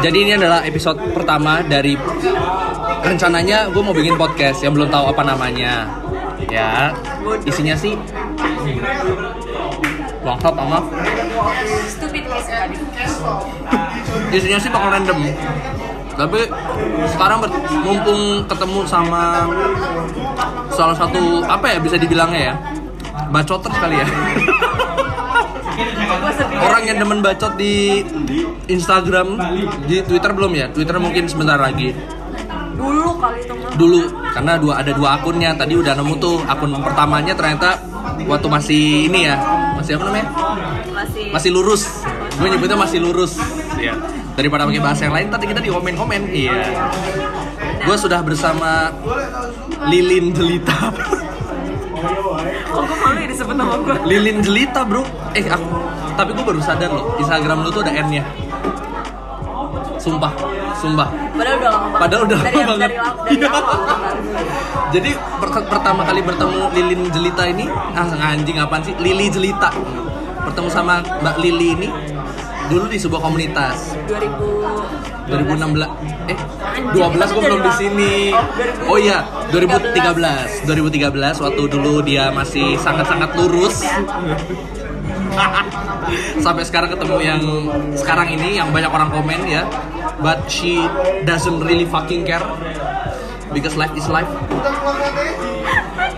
Jadi ini adalah episode pertama dari rencananya gue mau bikin podcast yang belum tahu apa namanya. Ya, isinya sih bangsat sama Stupid case tadi. isinya sih bakal random tapi sekarang ber- mumpung ketemu sama salah satu apa ya bisa dibilangnya ya bacoters kali ya orang yang demen bacot di Instagram di Twitter belum ya Twitter mungkin sebentar lagi Dulu kali itu mah. dulu karena dua ada dua akunnya tadi udah nemu tuh akun pertamanya ternyata waktu masih ini ya masih apa namanya Masih. masih lurus gue nyebutnya masih lurus Iya. daripada pakai bahasa yang lain tadi kita di komen komen iya gue sudah bersama lilin jelita Kok gue malu ya disebut nama gue? lilin jelita bro eh aku tapi gue baru sadar loh instagram lu tuh ada n nya sumpah sumpah Padahal udah lama banget. Padahal udah dari, lama dari, banget. Iya. Dari, dari awal. kan. jadi per- pertama kali bertemu lilin jelita ini ah anjing apaan sih lili jelita bertemu sama mbak lili ini dulu di sebuah komunitas 2016 eh 12 gue belum di sini. Oh iya, 2013. 2013 waktu dulu dia masih sangat-sangat lurus. Sampai sekarang ketemu yang sekarang ini yang banyak orang komen ya. But she doesn't really fucking care because life is life.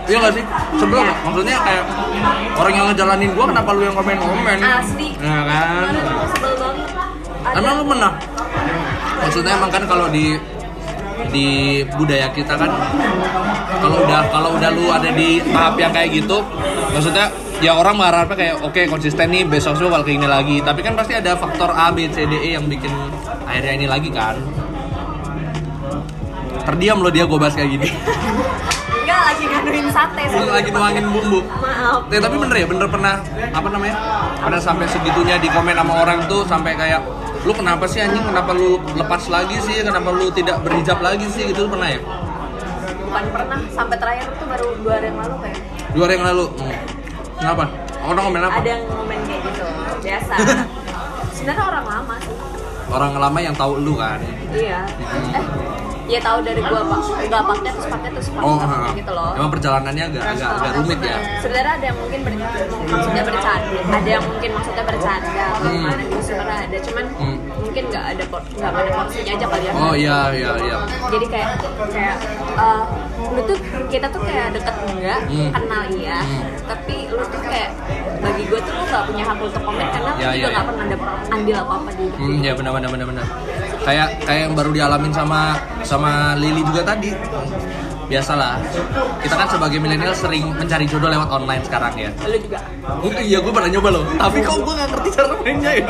Iya gak sih? Sebelum nggak? maksudnya kayak orang yang ngejalanin gua kenapa lu yang komen-komen? Asli. Ya kan? Kemarin gue sebel banget. Ada Emang lu pernah? Maksudnya emang kan kalau di di budaya kita kan kalau udah kalau udah lu ada di tahap yang kayak gitu maksudnya ya orang mengharapnya kayak oke konsisten nih besok lu bakal kayak gini lagi tapi kan pasti ada faktor A B C D E yang bikin akhirnya ini lagi kan terdiam lo dia gue bahas kayak gini enggak lagi ngaduin sate Lu lagi nuangin bumbu Maaf. Ya, tapi bener ya, bener pernah apa namanya? Pernah sampai segitunya di komen sama orang tuh sampai kayak lu kenapa sih anjing? Kenapa lu lepas lagi sih? Kenapa lu tidak berhijab lagi sih? Gitu lu pernah ya? Bukan pernah sampai terakhir tuh baru dua hari yang lalu kayak. Dua hari yang lalu. Hmm. Kenapa? Orang komen apa? Ada yang ngomen kayak gitu. Biasa. Sebenarnya orang lama sih. Orang lama yang tahu lu kan. Iya. Mm-hmm. Eh, ya tahu dari gua pak. Enggak paknya terus paknya terus paknya Oh, terus ha. paknya gitu loh. Iya. Emang perjalanannya agak agak agak rumit ya. sebenarnya ada yang mungkin ber- maksudnya bercanda ada yang mungkin maksudnya bercanda atau Hmm. gimana gitu sebenarnya ada cuman Hmm. mungkin nggak ada por- nggak ada porsinya aja kali ya Oh iya iya iya. jadi kayak kayak eh, lu tuh kita tuh kayak deket enggak Hmm. kenal iya Hmm. tapi lu tuh kayak bagi gue tuh lu gak punya hak untuk komen karena Ya, lu ya, juga ya. nggak pernah ada andil apa apa di Hmm, ya benar benar benar benar. Kayak kayak yang baru dialamin sama sama Lili juga tadi. Biasalah. Kita kan sebagai milenial sering mencari jodoh lewat online sekarang ya. lu juga Oh, iya gue pernah nyoba loh, tapi kok gue gak ngerti cara mainnya ya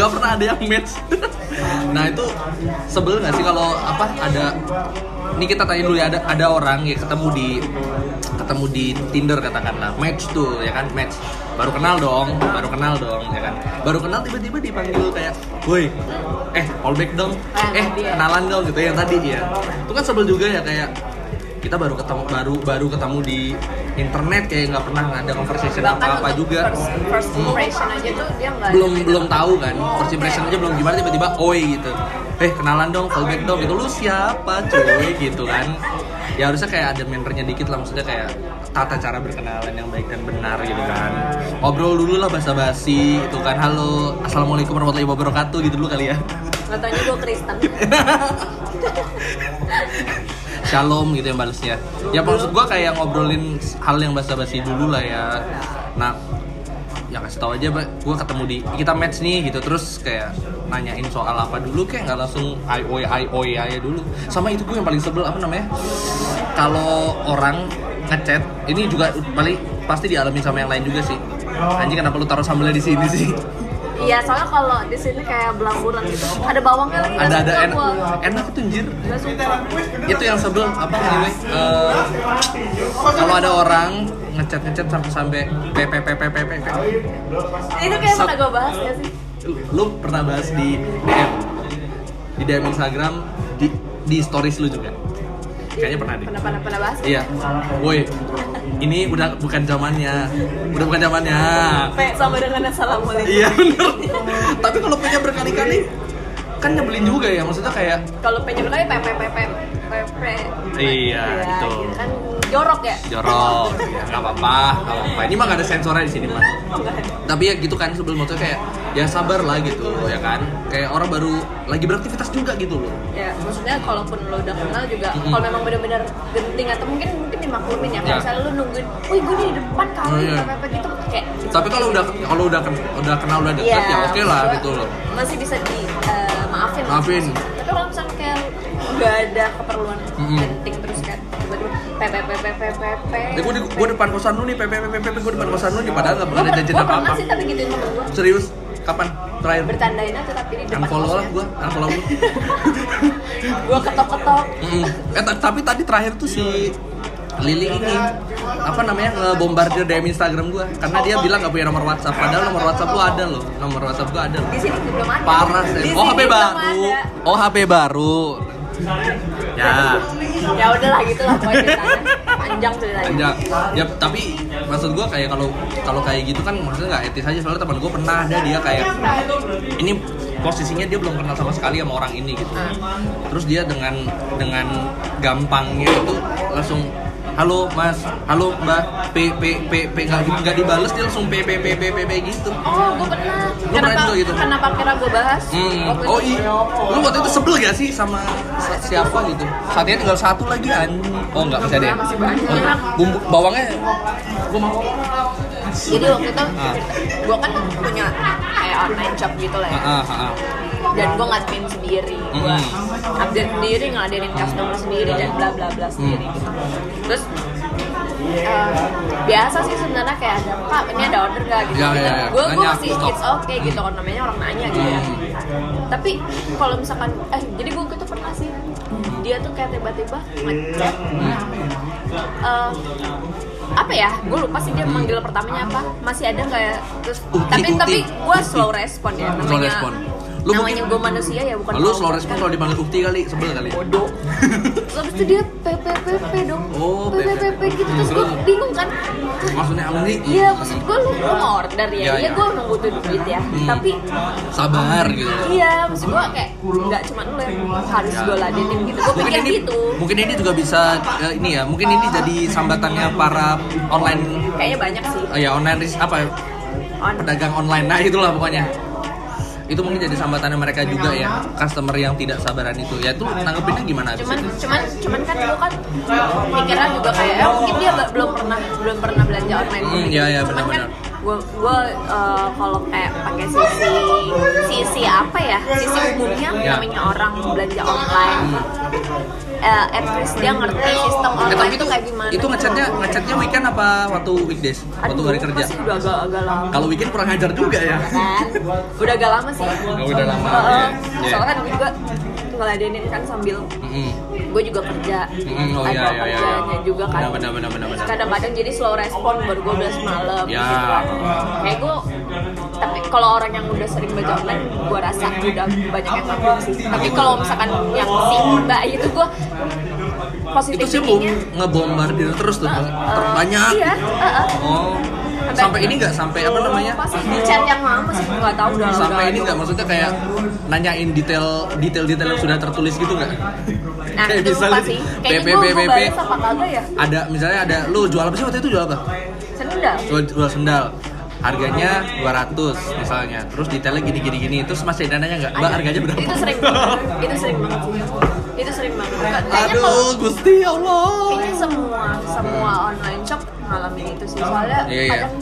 Gak pernah ada yang match Nah itu sebel gak sih kalau apa ada Ini kita tanya dulu ya, ada, ada orang ya ketemu di ketemu di Tinder katakanlah match tuh ya kan match baru kenal dong baru kenal dong ya kan baru kenal tiba-tiba dipanggil kayak woi eh call back dong eh kenalan dong gitu yang tadi ya itu kan sebel juga ya kayak kita baru ketemu baru baru ketemu di internet kayak nggak pernah ada conversation apa apa untuk juga first, first Hmm. impression aja tuh dia nggak belum belum tahu kan first impression aja belum gimana tiba-tiba oi gitu eh kenalan dong callback dong gitu lu siapa cuy gitu kan ya harusnya kayak ada mannernya dikit lah maksudnya kayak tata cara berkenalan yang baik dan benar gitu kan ngobrol dulu lah basa-basi gitu kan halo assalamualaikum warahmatullahi wabarakatuh gitu dulu kali ya nggak tanya gue Kristen Shalom gitu yang balesnya. Ya maksud gua kayak ngobrolin hal yang basa-basi dulu lah ya. Nah, ya kasih tahu aja, Pak. Gua ketemu di kita match nih gitu terus kayak nanyain soal apa dulu kayak nggak langsung IOI IOI aja dulu. Sama itu gue yang paling sebel apa namanya? Kalau orang ngechat, ini juga paling pasti dialami sama yang lain juga sih. Anjing kenapa lu taruh sambelnya di sini sih? Iya, soalnya kalau di sini kayak belamburan gitu. Ada bawangnya lagi. nggak Ada ada suka enak gua. enak itu anjir. Nggak suka. itu yang sebelum apa anyway, eh, kalau ada orang ngechat ngechat sampai sampai pppppp Itu kayak Sat- pernah gue bahas ya sih. lu pernah bahas di DM di DM Instagram di di stories lu juga kayaknya pernah deh Pernah pernah pernah bahas. iya woi ini udah bukan zamannya udah bukan zamannya Kayak sama dengan assalamualaikum. iya bener tapi kalau punya berkali-kali kan nyebelin juga ya maksudnya kayak Kalau pengen tapi pem pem pem pem pem pem. Iya, Ya, itu. gitu Kan jorok ya. jorok ya nggak apa-apa nggak apa-apa ini mah nggak ada sensornya di sini mah Oh, nggak ada. tapi ya gitu kan sebelum motor kayak ya sabar lah gitu ya kan kayak orang baru lagi beraktivitas juga gitu loh ya maksudnya kalaupun lo udah kenal juga Mm-mm. kalau memang benar-benar genting atau mungkin mungkin dimaklumin ya Ya. kalau misalnya lo nungguin wih gue nih di depan kali Iya. apa apa gitu kayak tapi kalau udah kalau udah ken- udah kenal udah deket ya oke lah maksud gua gitu loh Iya. masih bisa di eh, maafin lah. Maafin. tapi kalau misalnya kayak nggak ada keperluan Mm-mm. genting terus kan tiba-tiba PPPPPPP ya gue di gue depan kosan lu nih PPPPP gue depan kosan lu nih padahal nggak pernah ada janji apa apa pernah sih tapi gituin temen gue serius kapan terakhir bertandain aja tapi di depan unfollow lah kosnya. gue unfollow lu gue ketok-ketok Mm-mm. eh ta- tapi tadi terakhir tuh si Lili ini apa namanya ngebombardir DM Instagram gue karena dia bilang nggak punya nomor WhatsApp padahal nomor WhatsApp lu ada loh nomor WhatsApp gue ada loh di sini belum ada Parah sih. Di sini Oh HP belum baru. ada. Oh HP baru. Ya. ya udahlah gitu lah pokoknya ceritanya. panjang ceritanya Anjak. Ya tapi maksud gua kayak kalau kalau kayak gitu kan maksudnya nggak etis aja soalnya teman gua pernah ada dia kayak ini posisinya dia belum kenal sama sekali sama orang ini gitu. Ah. Terus dia dengan dengan gampangnya itu langsung halo mas, halo mbak, p p p p nggak nggak dibales dia langsung p p p p p, p gitu. oh gue pernah Lu pernah juga gitu? kenapa kira gue bahas Hmm. Waktu Oh itu- iya, lu waktu itu sebel gak sih sama sa- siapa gitu? Saatnya tinggal satu lagi kan? Oh nggak bisa deh. Masih banyak. Oh, Bumbu bawangnya, gua mau. jadi waktu itu Ah. gue kan punya kayak online shop gitu lah ya Ah, ah, ah. dan gue ngadmin sendiri gue Mm-hmm. update sendiri ngeladenin customer sendiri dan bla bla bla sendiri Mm. gitu terus eh, biasa sih sebenarnya kayak ada pak ini ada order gak gitu Ya, ya, ya. gue gue Nanya, masih stop. Mm-hmm. it's okay gitu orang namanya orang nanya gitu ya tapi kalau misalkan eh jadi gue tuh pernah sih Mm-hmm. dia tuh kayak tiba-tiba ngechat Hmm. eh, apa ya gue lupa sih dia manggil pertamanya apa masih ada nggak ya terus Oh, Uti, tapi uti. tapi gue slow respon ya namanya Slow respon. Lu namanya mungkin- gue manusia ya bukan Lu slow robot, respon kan? kalau dipanggil ukti kali, sebel kali. bodoh terus abis itu dia PPPP dong Oh, PPPP gitu terus gue Terus? bingung kan Maksudnya Amri, Iya, maksud gue lu, lu mau order Iya, ya, iya. iya gue emang butuh duit ya Hmm. Tapi, sabar gitu. iya maksud gue kayak nggak cuma lu yang harus gue ladenin gitu Gue Mungkin pikir ini, gitu mungkin ini juga bisa eh, ini ya. Mungkin ini jadi sambatannya para online, Kayaknya banyak sih eh, ya online ris- apa? On. pedagang online nah itulah pokoknya itu mungkin jadi sambatannya mereka juga ya customer yang tidak sabaran itu ya itu tanggepinnya gimana abis cuman itu? cuman cuman kan lu kan mikirnya juga kayak eh, mungkin dia ba- belum pernah belum pernah belanja online Hmm, iya, iya, cuman kan benar-benar. gue gue kalau kayak pakai sisi sisi apa ya sisi umumnya Ya. namanya orang belanja online Hmm. Eh, at least dia ngerti Eh, sistem online Ya, tapi itu itu kayak gimana itu ngechatnya ngechatnya weekend apa waktu weekdays waktu Aduh, hari kerja masih udah agak agak lama kalau weekend kurang ajar juga ya kan udah agak lama sih Oh, udah lama, Heeh. iya. soalnya kan gue juga ngeladenin kan sambil Mm-mm. gue juga kerja Mm-mm, oh iya ada iya iya kerjanya juga kan benar benar benar benar kadang-kadang jadi slow respon baru gue udah semalam Ya. gitu kan. kayak gue tapi kalau orang yang udah sering baca online gue rasa udah banyak yang ngerti sih tapi kalau misalkan yang si mbak itu gue itu positif sih bom ngebombardir terus tuh terbanyak iya gitu. heeh. oh sampai ini nggak sampai apa namanya pasti di chat yang lama sih nggak tahu udah sampai udah- ini nggak maksudnya kayak nanyain detail detail detail yang sudah tertulis gitu nggak nah Kayak gitu. itu lupa misalnya sih PP, kayaknya gue mau PP. balas apa kagak ya ada misalnya ada lu jual apa sih waktu itu jual apa sendal jual, jual sendal harganya 200 misalnya terus detailnya gini gini gini terus masih ada nanya nggak mbak harganya berapa itu sering banget itu sering banget itu sering banget kayaknya kalau aduh gusti ya allah kayaknya semua semua online shop mengalami itu sih soalnya Iya, iya. kadang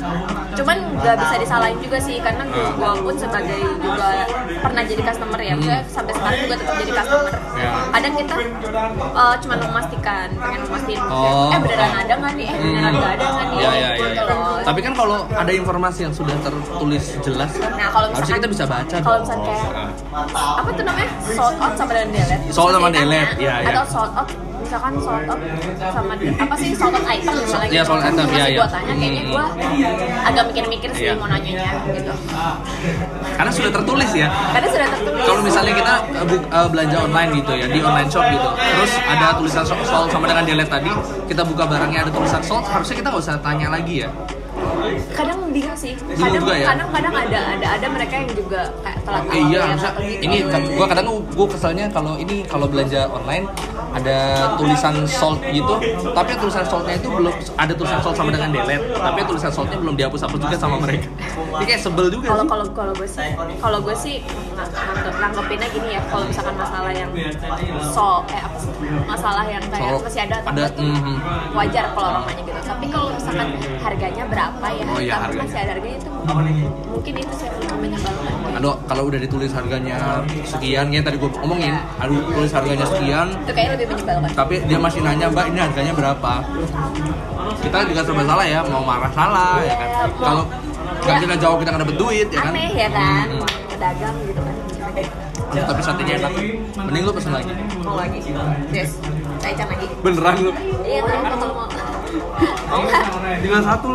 cuman nggak bisa disalahin juga sih karena gue, Hmm. gue pun sebagai juga pernah jadi customer ya gue Hmm. sampai sekarang juga tetap jadi customer Iya. kadang kita eh, cuman memastikan pengen memastikan Oh. eh beneran ada nggak nih eh beneran nggak ada nggak nih Hmm. ya, ya, ya, Gitu ya. loh. tapi kan kalau ada informasi yang sudah tertulis jelas kan Nah, kalau harusnya misalkan- kita bisa baca kalau dong. misalkan kayak- apa tuh namanya sold out sama dengan delete Sold sama Ceritanya. delete, iya, iya. atau sold out misalkan sold out sama apa sih sold out item misalnya Iya, sold item, iya, iya. gue tanya kayaknya Hmm. gue agak mikir-mikir sih Iya. mau nanyanya gitu karena sudah tertulis ya karena sudah tertulis kalau misalnya kita eh, bu- eh, belanja online gitu ya di online shop gitu terus ada tulisan so- sold sama dengan delete tadi kita buka barangnya ada tulisan sold harusnya kita nggak usah tanya lagi ya kadang bingung sih Bingung kadang juga ya? kadang kadang ada ada ada mereka yang juga kayak telat Eh, iya, awal masa atau gitu. ini kan gua kadang gua keselnya kalau ini kalau belanja online ada tulisan sold gitu, tapi tulisan soldnya itu belum ada tulisan sold sama dengan delete, tapi tulisan soldnya belum dihapus-hapus juga sama mereka. Ini kayak sebel juga. kalau sih. kalau kalau gue sih kalau gue sih nang- nangkep- nanggepinnya gini ya kalau misalkan masalah yang so eh apa sih masalah yang kayak Soal- masih ada atau ada, enggak tuh mhm. wajar kalau orang nanya gitu tapi kalau misalkan harganya berapa ya Oh, iya, tapi harganya. masih ada harganya itu mungkin itu sih yang lebih menyebalkan Aduh, kalau udah ditulis harganya sekian, ya tadi gua omongin, aduh tulis harganya sekian, itu kayaknya lebih menyebalkan tapi dia masih nanya mbak ini harganya berapa kita juga serba salah ya mau marah salah ya kan Iya, mau- kalau nggak kita jawab kita nggak dapet duit ya kan aneh ya kan Hmm, hmm. pedagang gitu kan Aduh, Hmm, tapi satenya enak mending lu pesen lagi mau lagi yes saya can lagi beneran lu iya tadi potong mau tinggal satu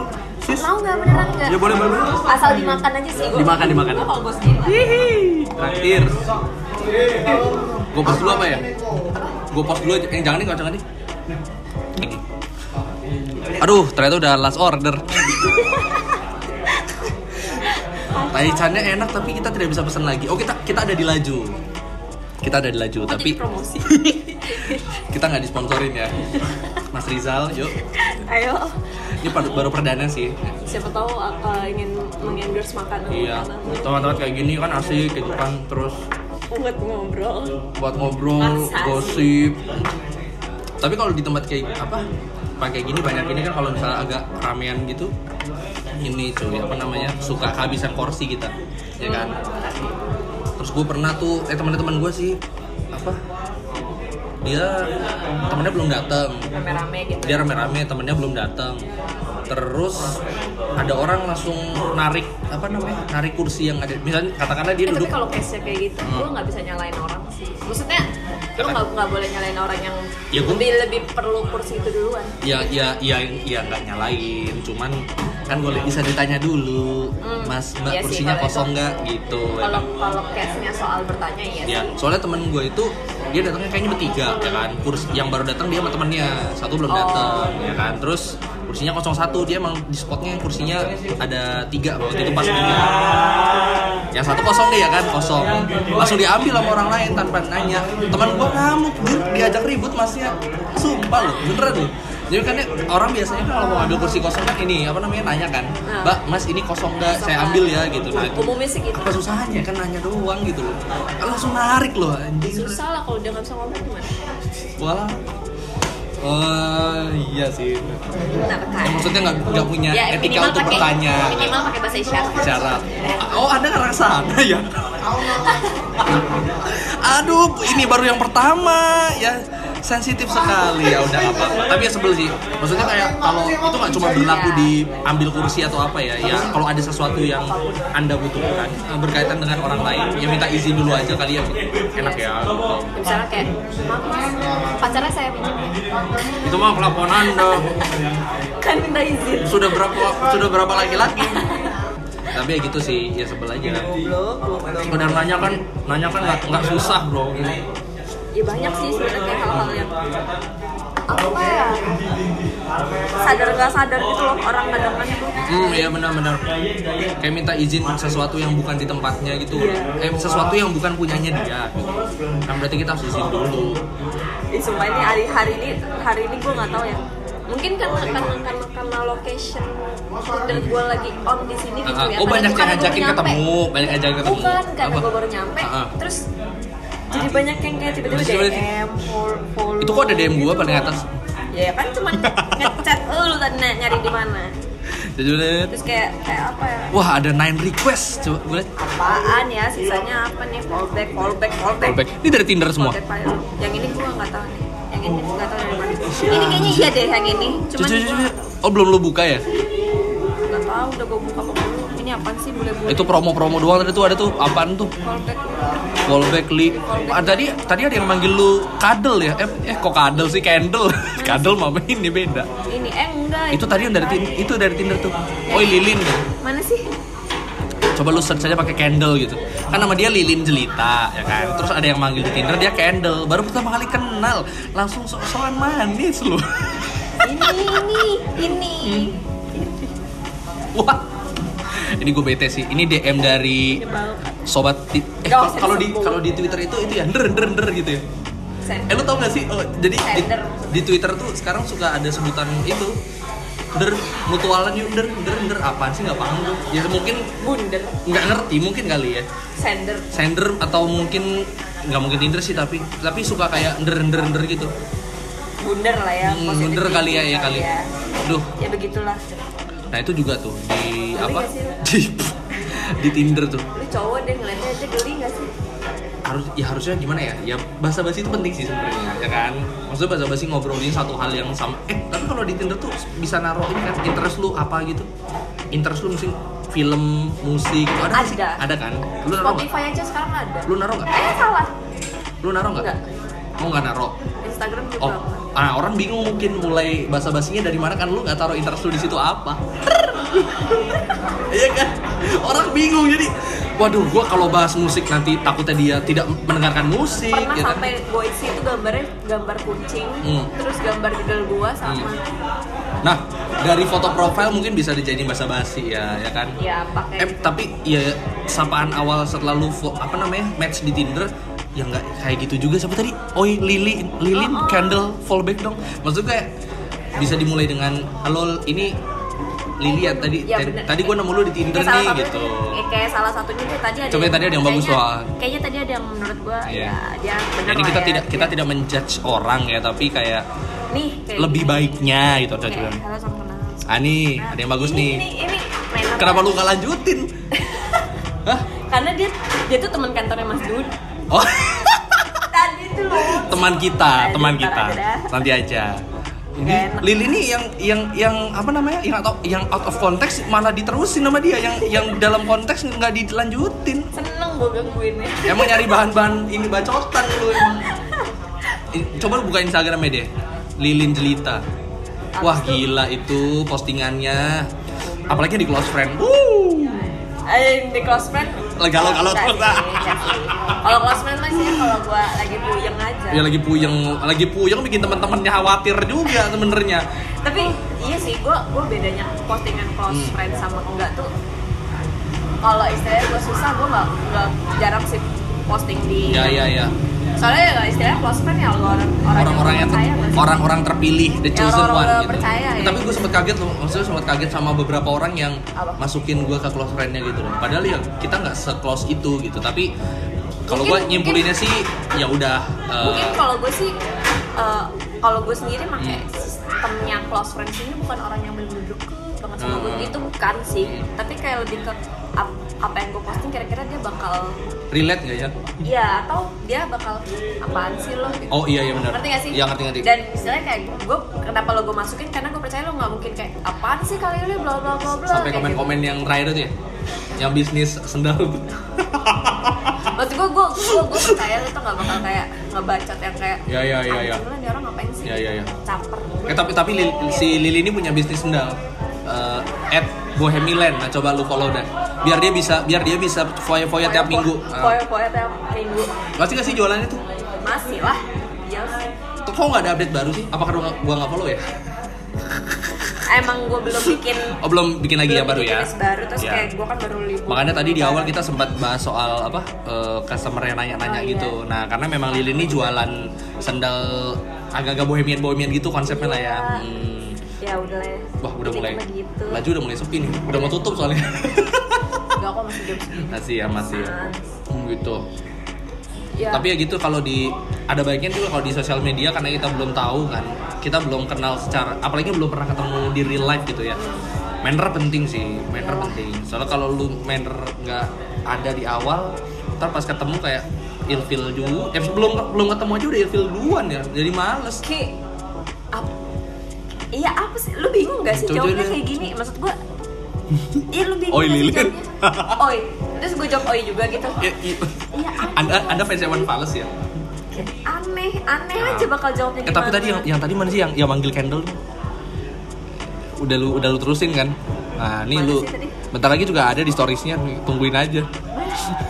sis mau nggak beneran nggak Ya, boleh, boleh. asal dimakan aja sih Dimakan, dimakan. Gua kalau gue sendiri nggak. traktir gue post dulu apa ya gue post dulu aja eh jangan nih nggak jangan nih Ini. aduh ternyata udah last order Taichannya enak tapi kita tidak bisa pesan lagi. Oh kita kita ada di laju. Kita ada di laju Kok tapi jadi promosi kita nggak disponsorin ya. Mas Rizal, yuk. ayo Ini baru, baru perdana sih. siapa tahu uh, ingin mengendorse makanan Iya. makanan Teman-teman kayak gini kan asik gitu kan terus buat ngobrol buat ngobrol, Maksa sih. gosip. Tapi kalau di tempat kayak apa? pakai gini banyak ini kan kalau misalnya agak ramean gitu ini cuy apa namanya suka kehabisan kursi kita ya kan terus gue pernah tuh eh teman-teman gue sih apa dia temennya belum datang rame-rame gitu dia rame-rame temennya belum datang terus ada orang langsung narik apa namanya narik kursi yang ada misalnya katakanlah dia Eh, tapi duduk kalau case nya kayak gitu, Hmm. gue nggak bisa nyalain orang sih. Maksudnya, lo Karena- nggak nggak boleh nyalain orang yang Ya, gua- lebih lebih perlu kursi itu duluan. ya ya ya ya nggak nyalain cuman kan boleh bisa ditanya dulu Hmm, mas mbak iya sih, kursinya kalau kosong itu- nggak gitu ya Kalau kan? kalau case nya soal bertanya iya ya sih. soalnya temen gue itu dia datangnya kayaknya bertiga ya kan kursi yang baru datang dia sama temennya satu belum Oh. datang ya kan terus kursinya kosong satu dia emang di spotnya yang kursinya ada tiga waktu itu pas dia yang satu kosong dia kan kosong langsung diambil sama orang lain tanpa nanya teman gue ngamuk Jun. diajak ribut masnya sumpah loh beneran loh jadi kan ya, orang biasanya kan kalau mau ambil kursi kosong kan ini apa namanya nanya kan Nah. mbak mas ini kosong nggak saya ambil ya gitu nah itu Umumnya sih gitu. apa susahnya kan nanya doang gitu loh Kan langsung narik loh anjing Susah lah kalau dia nggak bisa ngomong gimana? wah Oh iya sih. Kenapa Ya, kan? maksudnya nggak nggak punya Ya, etika minimal untuk pakai- bertanya. Minimal pakai bahasa isyarat. Ya, Syarat. Oh anda ngarang sana ya? Aduh ini baru yang pertama ya sensitif sekali ya udah nggak apa-apa tapi ya sebel sih maksudnya kayak kalau itu nggak cuma berlaku di ambil kursi atau apa ya ya kalau ada sesuatu yang anda butuhkan eh, berkaitan dengan orang lain ya minta izin dulu aja kali ya enak ya Ya, misalnya kayak, maaf mas, pacarnya saya pinjam itu mah pelapon anda kan minta izin. sudah berapa sudah berapa laki-laki tapi ya gitu sih ya sebel aja sekedar nanya kan nanya kan nggak- nggak susah bro gitu. Ya banyak sih sebenarnya kayak hal-hal yang apa ya sadar nggak sadar gitu loh orang kadang-kadang tuh Hmm, iya benar-benar. Kayak minta izin sesuatu yang bukan di tempatnya gitu. Iya. Eh, sesuatu yang bukan punyanya dia. Gitu. Kan berarti kita harus izin dulu. Ih, sumpah ini hari hari ini hari ini gue nggak tahu ya mungkin karena karena karena, karena location dan gue lagi on di sini gitu Ah, ah. ya oh, Padahal banyak yang bukan gue ngajakin nyampe. ketemu, banyak yang ngajakin ketemu. bukan karena Apa? gue baru nyampe Ah, ah. terus jadi banyak yang kayak tiba-tiba Terus tiba-tiba- DM for- follow Itu kok ada DM gua paling atas. ya kan cuma ngechat lu tadi na- nyari di mana Jadi, terus kayak kayak apa ya Wah, ada 9 request. Coba gue lihat. apaan ya sisanya apa nih fallback fallback fallback Callback. Ini dari Tinder semua. Fallback file. yang ini gua nggak tahu nih yang ini gua nggak tahu dari mana ini kayaknya iya deh yang ini cuman Cucu, cucu, gua cucu. Oh, belum lu buka ya? nggak tahu udah gua buka apa belum ini apaan sih boleh boleh Itu promo-promo doang tadi tuh ada tuh apaan tuh? fallback Callback Li. Ah, tadi tadi ada yang manggil lu kadel ya? Eh, eh kok kadel sih? Candle. kadel mama ini beda. ini eh enggak itu tadi yang dari Tin- itu dari Tinder tuh. Oi Lilin. mana sih Coba lu search aja pakai candle gitu. Kan nama dia Lilin Jelita ya kan. Terus ada yang manggil di Tinder dia candle. Baru pertama kali kenal, langsung sok-sokan manis lu. Hmm. ini ini ini Wah. Ini gue bete sih. Ini DM dari sobat ti- eh, Gak kalau usah kalau di disebut. kalau di Twitter itu itu ya nder nder nder gitu ya. Eh lu tau gak sih? Oh, jadi di, Sender. di Twitter tuh sekarang suka ada sebutan itu nder mutualan yuk nder nder nder apaan sih nggak paham gue. Ya mungkin Bunder, nggak ngerti mungkin kali ya. sender. Sender atau mungkin nggak mungkin Tinder sih tapi tapi suka kayak nder nder nder gitu. Bunder lah ya. Hmm, positif Nder kali ya ya thinking kali. ya. Duh, Ya begitulah. Nah itu juga tuh di Geli apa? gak sih lu? Di, di Tinder tuh Lu cowok deh ngeliatnya aja geli gak sih? harus ya harusnya gimana ya? Ya bahasa basi itu penting sih sebenarnya ya kan. Maksudnya bahasa basi ngobrolin satu hal yang sama. Eh tapi kalau di Tinder tuh bisa naruh ini kan interest lu apa gitu? Interest lu mungkin film, musik, ada, nggak sih? Ada. ada kan? Lu naruh nggak? Spotify aja sekarang ada. Lu naruh nggak? Eh salah. Lu naruh nggak? Nggak. Oh nggak naruh. Instagram juga. Oh, apa. ah, orang bingung mungkin mulai bahasa basinya dari mana kan lu nggak taruh interest lu di situ apa? Iya kan? Orang bingung jadi, waduh, gua kalau bahas musik nanti takutnya dia tidak mendengarkan musik. Pernah ya kan? sampai Boise itu gambarnya gambar kucing, Hmm. terus gambar gedel gua sama Nah, dari foto profil mungkin bisa dijadiin bahasa basi ya, ya kan? ya pakai Eh, tapi ya sapaan awal setelah lu fo- apa namanya match di Tinder ya nggak kayak gitu juga siapa tadi oi lili lilin Oh, oh. candle fallback dong maksudnya kayak bisa dimulai dengan halo ini Lili ya tadi Ya, tadi- bener. tadi gua nemu lu di Tinder Kayak nih salah satunya gitu tuh- eh, kayak salah satunya tuh tadi ada Coba yang tadi ada yang bagus kayaknya- doang. kayaknya tadi ada yang menurut gua Iya. ya dia benar jadi kita tidak kita tidak menjudge orang ya tapi kayak nih kayak lebih gini. baiknya gitu ada Kayak juga halo, salam kenal. ah nih Nah, ada yang bagus Iya. ini, nih ini ini mainan. kenapa lu nggak lanjutin Hah? karena dia dia tuh teman kantornya Mas Dudi oh tadi tuh loh teman kita Aduh, teman ntar kita aja dah. nanti aja ini Nggak enak. Lili ini yang yang yang apa namanya yang out yang out of context malah diterusin sama dia yang yang dalam konteks nggak dilanjutin seneng gua gangguinnya emang nyari bahan-bahan ini bacotan lu emang I- coba lu buka instagramnya deh lilin jelita wah Apa tuh? gila itu postingannya apalagi di close friend Iya, Wuh. Eh, di close friend Galau-galau terus, Nggak ah. sih, nggak sih. kalau close friend masih kalau gua lagi puyeng aja ya lagi puyeng lagi puyeng bikin teman-temannya khawatir juga sebenarnya tapi iya sih gua gua bedanya postingan close Hmm. friend sama enggak tuh kalau istilahnya gua susah gua nggak nggak jarang sih posting di ya ya ya soalnya kalau istilahnya close friend ya orang orang orang-orang yang percaya nggak sih? orang-orang terpilih the Ya, chosen orang-orang one yang gitu. percaya ya. Tapi gue sempet kaget loh, maksudnya sempet kaget sama beberapa orang yang Apa? masukin gue ke close friend-nya gitu loh. Padahal ya kita nggak se-close itu gitu, tapi kalau gue Mungkin- nyimpulinnya sih ya udah eh, mungkin kalau gue sih eh, kalau gue sendiri pakai Hmm. sistemnya close friends ini bukan orang yang bener-bener deket banget sama gue Hmm. itu bukan sih tapi kayak lebih ke ap- apa yang gue posting kira-kira dia bakal relate nggak ya? ya atau dia bakal apaan sih lo gitu. Oh iya iya benar. ngerti gak sih? Iya ngerti ngerti. dan istilahnya kayak gue kenapa lo gue masukin karena gue percaya lo nggak mungkin kayak apaan sih kali ini bla bla bla bla Sampai kayak komen-komen yang terakhir itu ya, yang bisnis sendal tuh. gitu. maksud gue gue gue gue percaya lo tuh nggak bakal kayak ngebacot yang kayak Ya, ya, ya, ya. "Anjing lah, nih orang ngapain sih Ya, ya, ya. caper Eh tapi tapi Lil- si Lili ini punya bisnis sendal. Eh, at Bohemiland, nah coba lu follow dah. Biar dia bisa biar dia bisa foya-foya tiap minggu. Ah. Foya-foya tiap minggu. Masih gak sih jualannya tuh? Masih lah. Iya sih. Tuh, Kok nggak ada update baru sih? Apa karena gua nggak follow ya? Emang gue belum bikin Oh belum bikin lagi belum yang baru bikin ya? list baru terus Ya. kayak Iya. gue kan baru libur. Makanya tadi di awal kita sempat bahas soal apa eh, customer yang nanya-nanya Oh, iya. gitu. Nah karena memang Lili ini jualan sendal agak-agak bohemian bohemian gitu konsepnya lah ya. Iya. Hmm. Ya udah lah. Wah udah Jadi mulai cuma Gitu. laju udah mulai sepi nih. Udah mau tutup soalnya. Enggak kok masih jam segini. masih ya masih. ya. Iya. Hmm, gitu. Ya. Tapi ya gitu kalau di ada baiknya juga kalau di sosial media karena kita belum tahu kan, kita belum kenal secara apalagi belum pernah ketemu di real life gitu ya. Manner penting sih, manner Iyalah. penting. Soalnya kalau lu manner nggak ada di awal, ntar pas ketemu kayak ilfil juga. Eh, belum belum ketemu aja udah ilfil duluan ya. Jadi males. Ki. Ap- Iya apa sih? Lu bingung gak sih Coba jawabnya deh. kayak gini? Maksud gue Iya lu bingung Oi, gak sih Lilin. jawabnya? Oi. Terus gue jawab oi juga gitu. Ya, i- Iya, anda Anda fans Ewan Fals ya? aneh, aneh Nah. aja bakal jawabnya Eh, tapi gimana. ya? tadi yang, yang tadi mana sih yang yang manggil candle? Udah lu udah lu terusin kan? Nah, nih Mana lu sih tadi? bentar lagi juga ada di storiesnya, tungguin aja.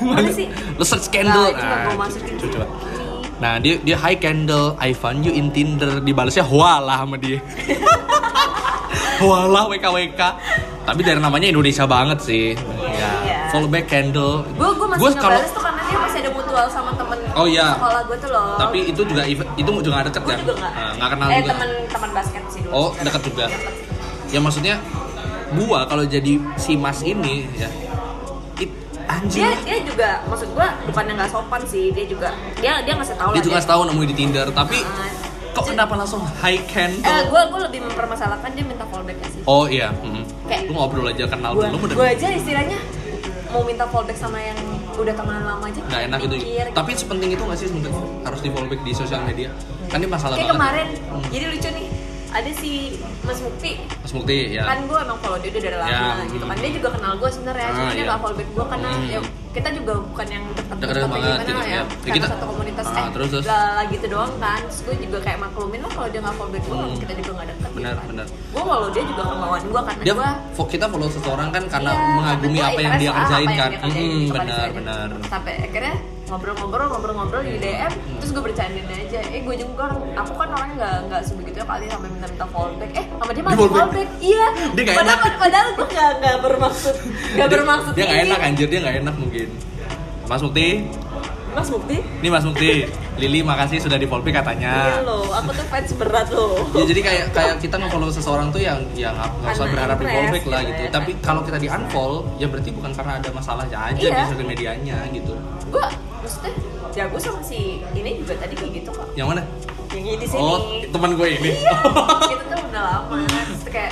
Mana sih? Lu search candle. Nah, itu nggak gua masukin. coba, coba. Nah, dia dia hi candle, I found you in Tinder, dibalasnya hoalah sama dia. hoalah WKWK. Tapi dari namanya Indonesia banget sih. Ya. Iya. Follow back candle. gue gue masih Gua ngebales tuh karena dia masih ada mutual sama temen Oh, iya. sekolah gue tuh loh tapi itu juga event- itu juga nggak deket gue ya? juga nggak Nah, nggak kenal eh juga. temen teman basket sih dulu Oh, sebenarnya. deket juga. Deket. Ya maksudnya gua kalau jadi si Mas ini ya it, anjir. dia dia juga maksud gue bukannya nggak sopan sih dia juga dia dia ngasih tahu Dia lah juga dia- tahu nemuin di Tinder, tapi Nah, kok jadi- kenapa langsung high candle? eh gue gue lebih mempermasalahkan dia minta fallback sih Oh iya, mm Kayak- lu ngobrol aja kenal gue belum gue udah aja istilahnya mau minta fallback sama yang udah temenan lama aja nggak enak itu. mikir. gitu. Tapi sepenting itu nggak sih sebenarnya harus di follow back di sosial media? Kan ini masalah kayak banget. kemarin Hmm. jadi lucu nih ada si Mas Mukti Mas Mukti ya. kan gue emang follow dia udah dari lama Ya, gitu kan hmm. dia juga kenal gue sebenarnya cuma Ah, dia iya. nggak follow back gue karena Hmm. ya kita juga bukan yang deket Deket-deket atau banget gitu, lah ya. karena Kita- satu komunitas Ah, eh terus, terus. lah, lah gitu doang kan terus gue juga kayak maklumin lah kalau dia nggak follow back gue Hmm. kita juga nggak deket Benar, gitu kan. benar. gue follow dia juga kemauan gue karena dia gue fo- kita follow seseorang kan karena Iya, mengagumi karena apa gua yang dia interest sama kerjain apa kan yang dia kerjain, Mm, gitu kan, benar istilahnya. benar sampai akhirnya ngobrol-ngobrol ngobrol-ngobrol di DM terus gue bercandain aja eh gue juga kan aku kan orangnya nggak nggak sebegitunya kali sampai minta-minta fallback eh sama dia malah Di fallback. fallback iya Dia nggak padahal enak. padahal gue nggak nggak bermaksud nggak Dia- bermaksud dia nggak ini. enak kan? anjir dia nggak enak mungkin Mas Mukti Mas Bukti ini Mas Mukti Lili makasih sudah di follow back iya katanya loh aku tuh fans berat loh ya jadi kayak kayak kita nge-follow seseorang tuh yang yang nggak nggak usah Karena berharap di follow interest back lah gitu gitu ya. tapi kalau kita di unfollow ya berarti bukan karena ada masalahnya aja Iya. di sosial medianya gitu gue maksudnya jago sama si ini juga tadi kayak gitu kok yang mana yang di sini oh teman gue ini kita tuh udah lama terus kayak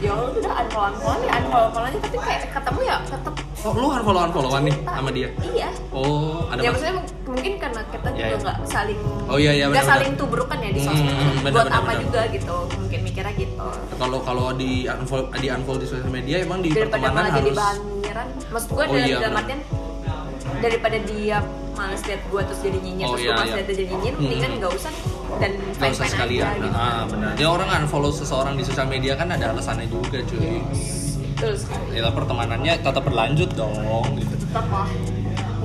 ya lu udah unfollow unfollow ya unfollow unfollow aja tapi kayak ketemu ya tetep oh lu unfollow unfollowan nih sama dia iya oh ada ya mas- maksudnya mung- mungkin karena kita Ya, juga ya. nggak saling Oh, iya, iya, nggak benar-benar. saling tubrukan ya di Hmm, sosmed benar, buat benar, apa benar. juga gitu mungkin mikirnya gitu kalau kalau di unfollow di unfollow di sosial media emang di daripada pertemanan malah jadi harus bahan nyinyiran maksud Oh, gue dalam, iya, dalam benar. artian daripada dia males liat gue terus jadi nyinyir Oh, iya, terus gue males iya. liat dia jadi nyinyir Hmm. mendingan nggak usah dan nggak usah fine-fine sekalian aja, gitu. ah benar ya orang unfollow seseorang di sosial media kan ada alasannya juga cuy betul sekali ya pertemanannya tetap berlanjut dong gitu tetap lah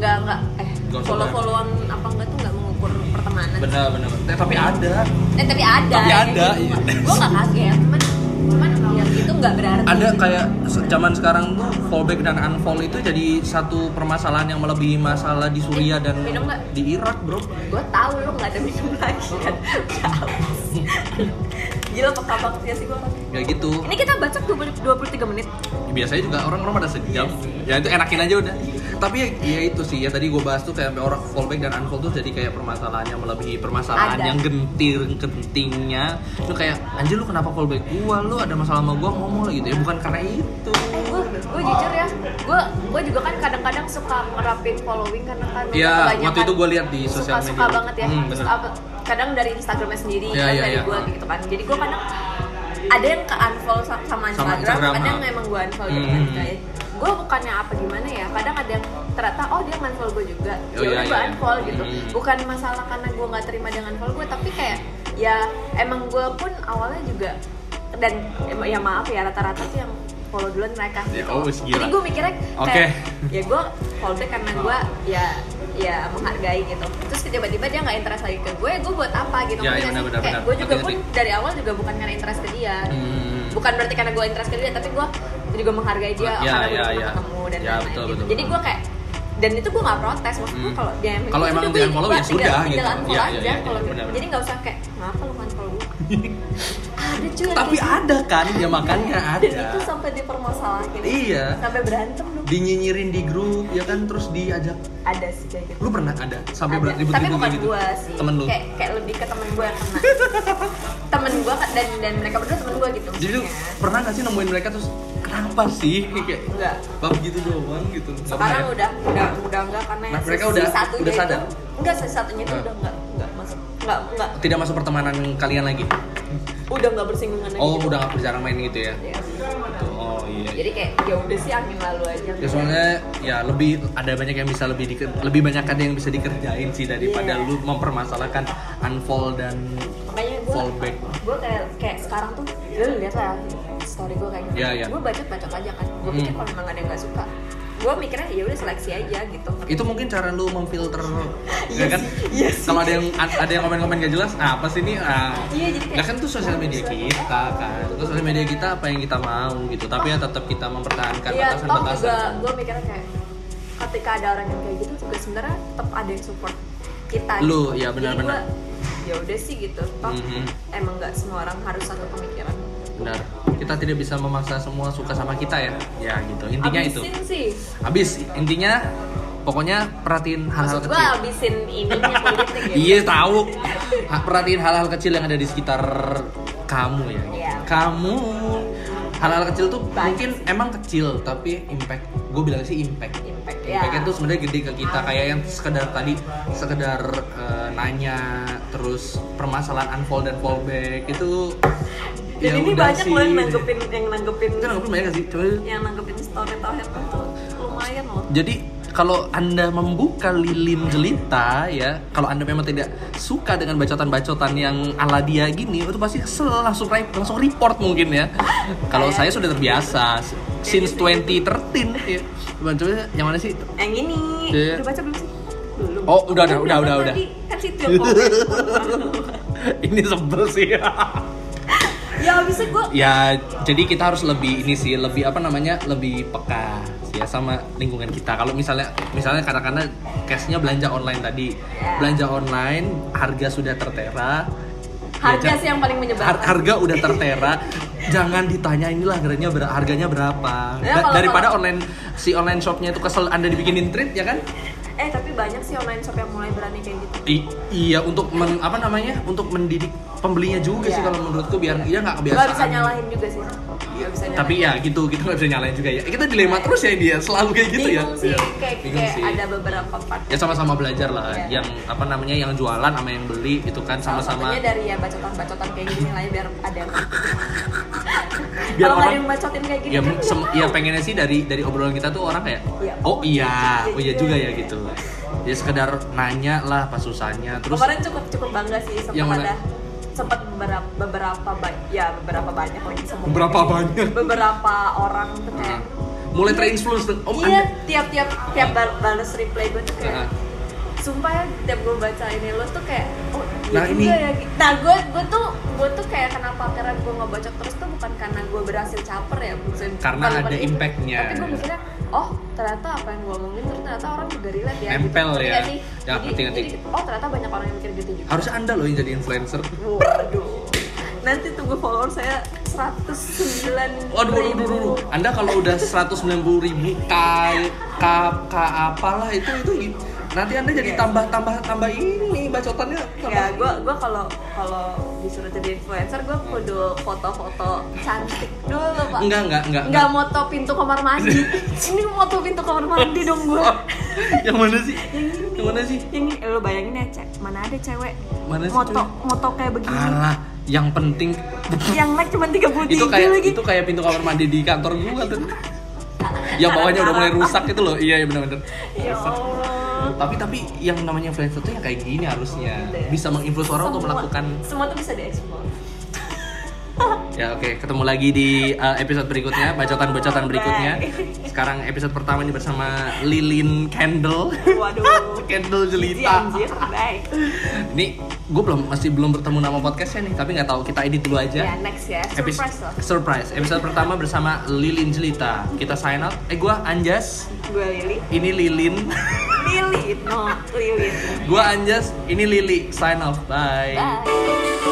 nggak nggak eh Nggak usah follow banyak. followan apa enggak tuh nggak mengukur pertemanan benar benar Eh, tapi ada eh tapi ada Tapi ada, iya. gue nggak kaget cuman cuman yang itu nggak berarti gitu. ada kayak se- zaman sekarang tuh fallback dan unfollow itu jadi satu permasalahan yang melebihi masalah di Suriah dan Eh, Minum nggak? di Irak bro gue tahu lu nggak ada minum lagi kan Haus. gila peka banget ya sih gue ya gitu ini kita baca 20 23 menit biasanya juga orang-orang pada sejam ya itu enakin aja udah tapi ya, ya itu sih ya tadi gue bahas tuh kayak sampai orang fallback dan unfollow tuh jadi kayak permasalahannya melebihi permasalahan Ada. yang gentir gentingnya lu kayak anjir lu kenapa fallback gua lu ada masalah sama gua ngomong lah gitu ya bukan karena itu eh gue gue jujur ya gue gue juga kan kadang-kadang suka ngerapin following karena kan Iya, kebanyakan waktu itu gua lihat di sosial suka, media. suka banget ya Hmm, Terus bener. apa- kadang dari instagramnya sendiri Iya, kadang iya, dari iya. gue gitu kan jadi gue kadang ada yang ke unfollow sa- sama Instagram, Instagram, kadang ah. emang gue unfollow Hmm, gitu kan hmm. gitu ya gue bukannya apa gimana ya kadang ada yang ternyata oh dia unfollow gue juga Oh, iya, ya udah gue iya. unfollow gitu Hmm. bukan masalah karena gue nggak terima dengan follow gue tapi kayak ya emang gue pun awalnya juga dan em- ya maaf ya rata-rata tuh yang follow duluan mereka Ya, gitu. oh, wis, gila. Jadi gue mikirnya kayak Oke. ya gue follow back karena gue ya ya menghargai gitu. Terus tiba-tiba dia nggak interest lagi ke gue, gue buat apa gitu? Ya, Ngerti ya, nggak sih? benar-benar, kayak benar. gue juga Ngerti, pun ngerti. dari awal juga bukan karena interest ke dia. Hmm. Bukan berarti karena gue interest ke dia, tapi gue juga menghargai Ya, dia karena ya, gue cuma ya. ketemu dan Ya, lain-lain betul, gitu. betul, Jadi betul. gue kayak dan itu gue nggak protes maksud gue Hmm. kalau dia Kalau gitu, emang udah dia gue- unfollow, gue ya sudah, tinggal gitu. unfollow Ya, aja ya, ya, kalau gitu. benar-benar. jadi nggak usah kayak ngapa lu unfollow gue ada cuy tapi ada ada kan ya makanya dan itu ada sampai dipermasalahin Iya. sampai berantem dong dinyinyirin di grup ya kan terus diajak ada sih kayak gitu lu pernah ada sampai Ada. berarti tapi ribut-ribut bukan gitu gua sih temen lu kayak kayak lebih ke temen gua yang kena temen gua kan- dan dan mereka berdua temen gua gitu jadi lu maksudnya. pernah gak sih nemuin mereka terus kenapa sih kayak enggak bab gitu doang gitu Nggak pernah sekarang ya? udah udah udah enggak karena Nah, yang mereka si- udah- si satunya udah itu- sadar? enggak si satunya itu Hah. udah enggak enggak masuk enggak enggak tidak masuk pertemanan kalian lagi udah enggak bersinggungan lagi oh gitu. udah nggak berjarang main gitu ya Iya. oh iya jadi kayak ya udah sih angin lalu aja ya soalnya ya lebih ada banyak yang bisa lebih diker, lebih banyak ada yang bisa dikerjain sih daripada Iya. lu mempermasalahkan unfollow dan makanya gue fallback gue kayak kayak sekarang tuh lu lihat lah story gue kayak gitu Iya, iya. gue bacot bacot aja kan gue pikir Hmm. kalau memang ada yang nggak suka gue mikirnya ya udah seleksi aja gitu itu mungkin cara lu memfilter Iya ya kan sih, iya sih. kalau ada yang ada yang komen-komen gak jelas ah, apa sih ini ah Iya, jadi kayak- Iya. Nah, kan itu sosial media kita kan itu sosial media kita apa yang kita mau gitu tapi ya tetap kita mempertahankan Iya, toh juga Kan batasan-batasan gue mikirnya kayak ketika ada orang yang kayak gitu juga sebenarnya tetap ada yang support kita. Lu, gitu. iya, Jadi benar-benar. gua, Ya udah sih gitu. Toh Mhm. emang nggak semua orang harus satu pemikiran. benar kita tidak bisa memaksa semua suka sama kita ya ya gitu intinya itu abisin sih. habis intinya pokoknya perhatiin hal-hal Maksud gue kecil abisin ininya politik gitu. Iya tahu. Ha- Perhatiin hal-hal kecil yang ada di sekitar kamu ya. Iya. Kamu hal-hal kecil tuh Banyak mungkin sih. emang kecil tapi impact gue bilang sih impact. Impact ya. Impactnya tuh sebenarnya gede ke kita kayak yang sekedar tadi sekedar eh, nanya terus permasalahan unfold dan fallback itu. ya Dan ini udah banyak sih. loh yang nanggepin yang nanggepin Kita nanggepin banyak gak sih? Coba yang nanggepin story tauhid itu lumayan loh. Jadi kalau anda membuka lilin jelita ya, kalau anda memang tidak suka dengan bacotan-bacotan yang ala dia gini, itu pasti kesel langsung ri- langsung report mungkin ya. kalau saya sudah terbiasa since 2013 ya. Cuman coba yang mana sih? Yang ini Iya. udah baca belum sih? Belum. Oh, udah, udah, udah, Kan udah, belum udah. tadi. Kan situ yang komen. Ini sebel sih. ya abisnya gue ya, jadi kita harus lebih ini sih, lebih apa namanya? Lebih peka ya sama lingkungan kita. Kalau misalnya misalnya katakanlah cashnya belanja online tadi. Belanja online harga sudah tertera. harga Ya, sih yang paling Har- menyebalkan harga udah tertera jangan ditanya inilah harganya ber- harganya berapa Ya, Da- kalau- daripada kalau- online si online shopnya itu kesel anda dibikinin treat ya kan eh tapi banyak sih online shop yang mulai berani kayak gitu I- iya untuk men- apa namanya untuk mendidik pembelinya juga sih Iya. kalau menurutku biar dia nggak gak bisa kebiasaan nyalahin juga sih Gak bisa nyalahin. kan. tapi ya gitu kita nggak bisa nyalain juga ya kita dilema terus ya dia selalu kayak gitu ya bingung sih Iya, kayak, bingung kayak sih. ada beberapa part ya sama-sama belajar lah Iya. yang apa namanya yang jualan sama yang beli itu kan Salah sama-sama satunya dari ya bacotan-bacotan kayak gini lah ya biar ada yang Biar kalau nggak ada orang- yang bacotin kayak gini ya, kan sem- nggak ya tahu. pengennya sih dari dari obrolan kita tuh orang kayak Iya. oh iya oh iya juga ya Iya. gitu ya sekedar nanya lah pas susahnya terus kemarin cukup cukup bangga sih sempat Yang mana? ada sempat beberapa beberapa ba- ya beberapa banyak lagi semua Beberapa banyak. beberapa orang tuh Nah, kayak mulai terinfluence tuh, om iya Anda- tiap-tiap Ah. tiap bal- balas reply gue tuh kayak Nah, sumpah ya tiap gue baca ini lo tuh kayak oh iya Nah, juga ini- ya gitu. nah gue gue tuh gue tuh kayak kenapa akhirnya gue ngebacok terus tuh bukan karena gue berhasil caper ya maksudnya Karena bukan- ada bukan gitu. impact-nya. tapi gue mikirnya oh ternyata apa yang gue omongin terus ternyata orang juga relate ya Nempel Ngerti ya. nggak sih? Ya, Jadi- ngerti, ngerti. jadi, oh ternyata banyak orang yang mikir gitu juga harusnya anda loh yang jadi influencer waduh nanti tuh gue follower saya 109 Waduh, waduh, waduh, waduh. Anda kalau udah 190 ribu k k k apalah itu itu i- nanti anda jadi tambah tambah tambah ini bacotannya tambah Ya, gue Iya. gua kalau kalau disuruh jadi influencer, gue kudu foto-foto cantik dulu, Pak. enggak enggak enggak Nggak moto pintu kamar mandi. Ini moto pintu kamar mandi dong gue. yang mana sih yang mana sih Yang ini, lo bayangin ya, cek. Mana ada cewek Mana sih moto cewek? moto kayak begini. Alah, yang penting Yang like cuma 33 itu kayak lagi. kan. itu kayak pintu kamar mandi di kantor gua tuh. Yang bawahnya udah mulai rusak itu loh. Iya, iya benar-benar. Ya Allah. Tapi tapi yang namanya influencer tuh yang kayak gini harusnya bisa menginfluence orang untuk Semua- melakukan. semua tuh bisa diekspor. Ya oke, ketemu lagi di uh, episode berikutnya, bacotan-bacotan berikutnya. Bye. Sekarang episode pertama ini bersama Lilin Candle. Waduh. Candle Jijik, Jelita. anjir, baik. Ini gue belum masih belum bertemu nama podcastnya nih, tapi nggak tahu kita edit dulu aja. Ya, next ya. Episode Surprise lah. surprise. Episode pertama bersama Lilin Jelita. Kita sign out. Eh gua Anjas, Gue Lili. ini Lilin. Lili, no, Lili. Gua Anjas, ini Lili. Sign off. Bye. Bye.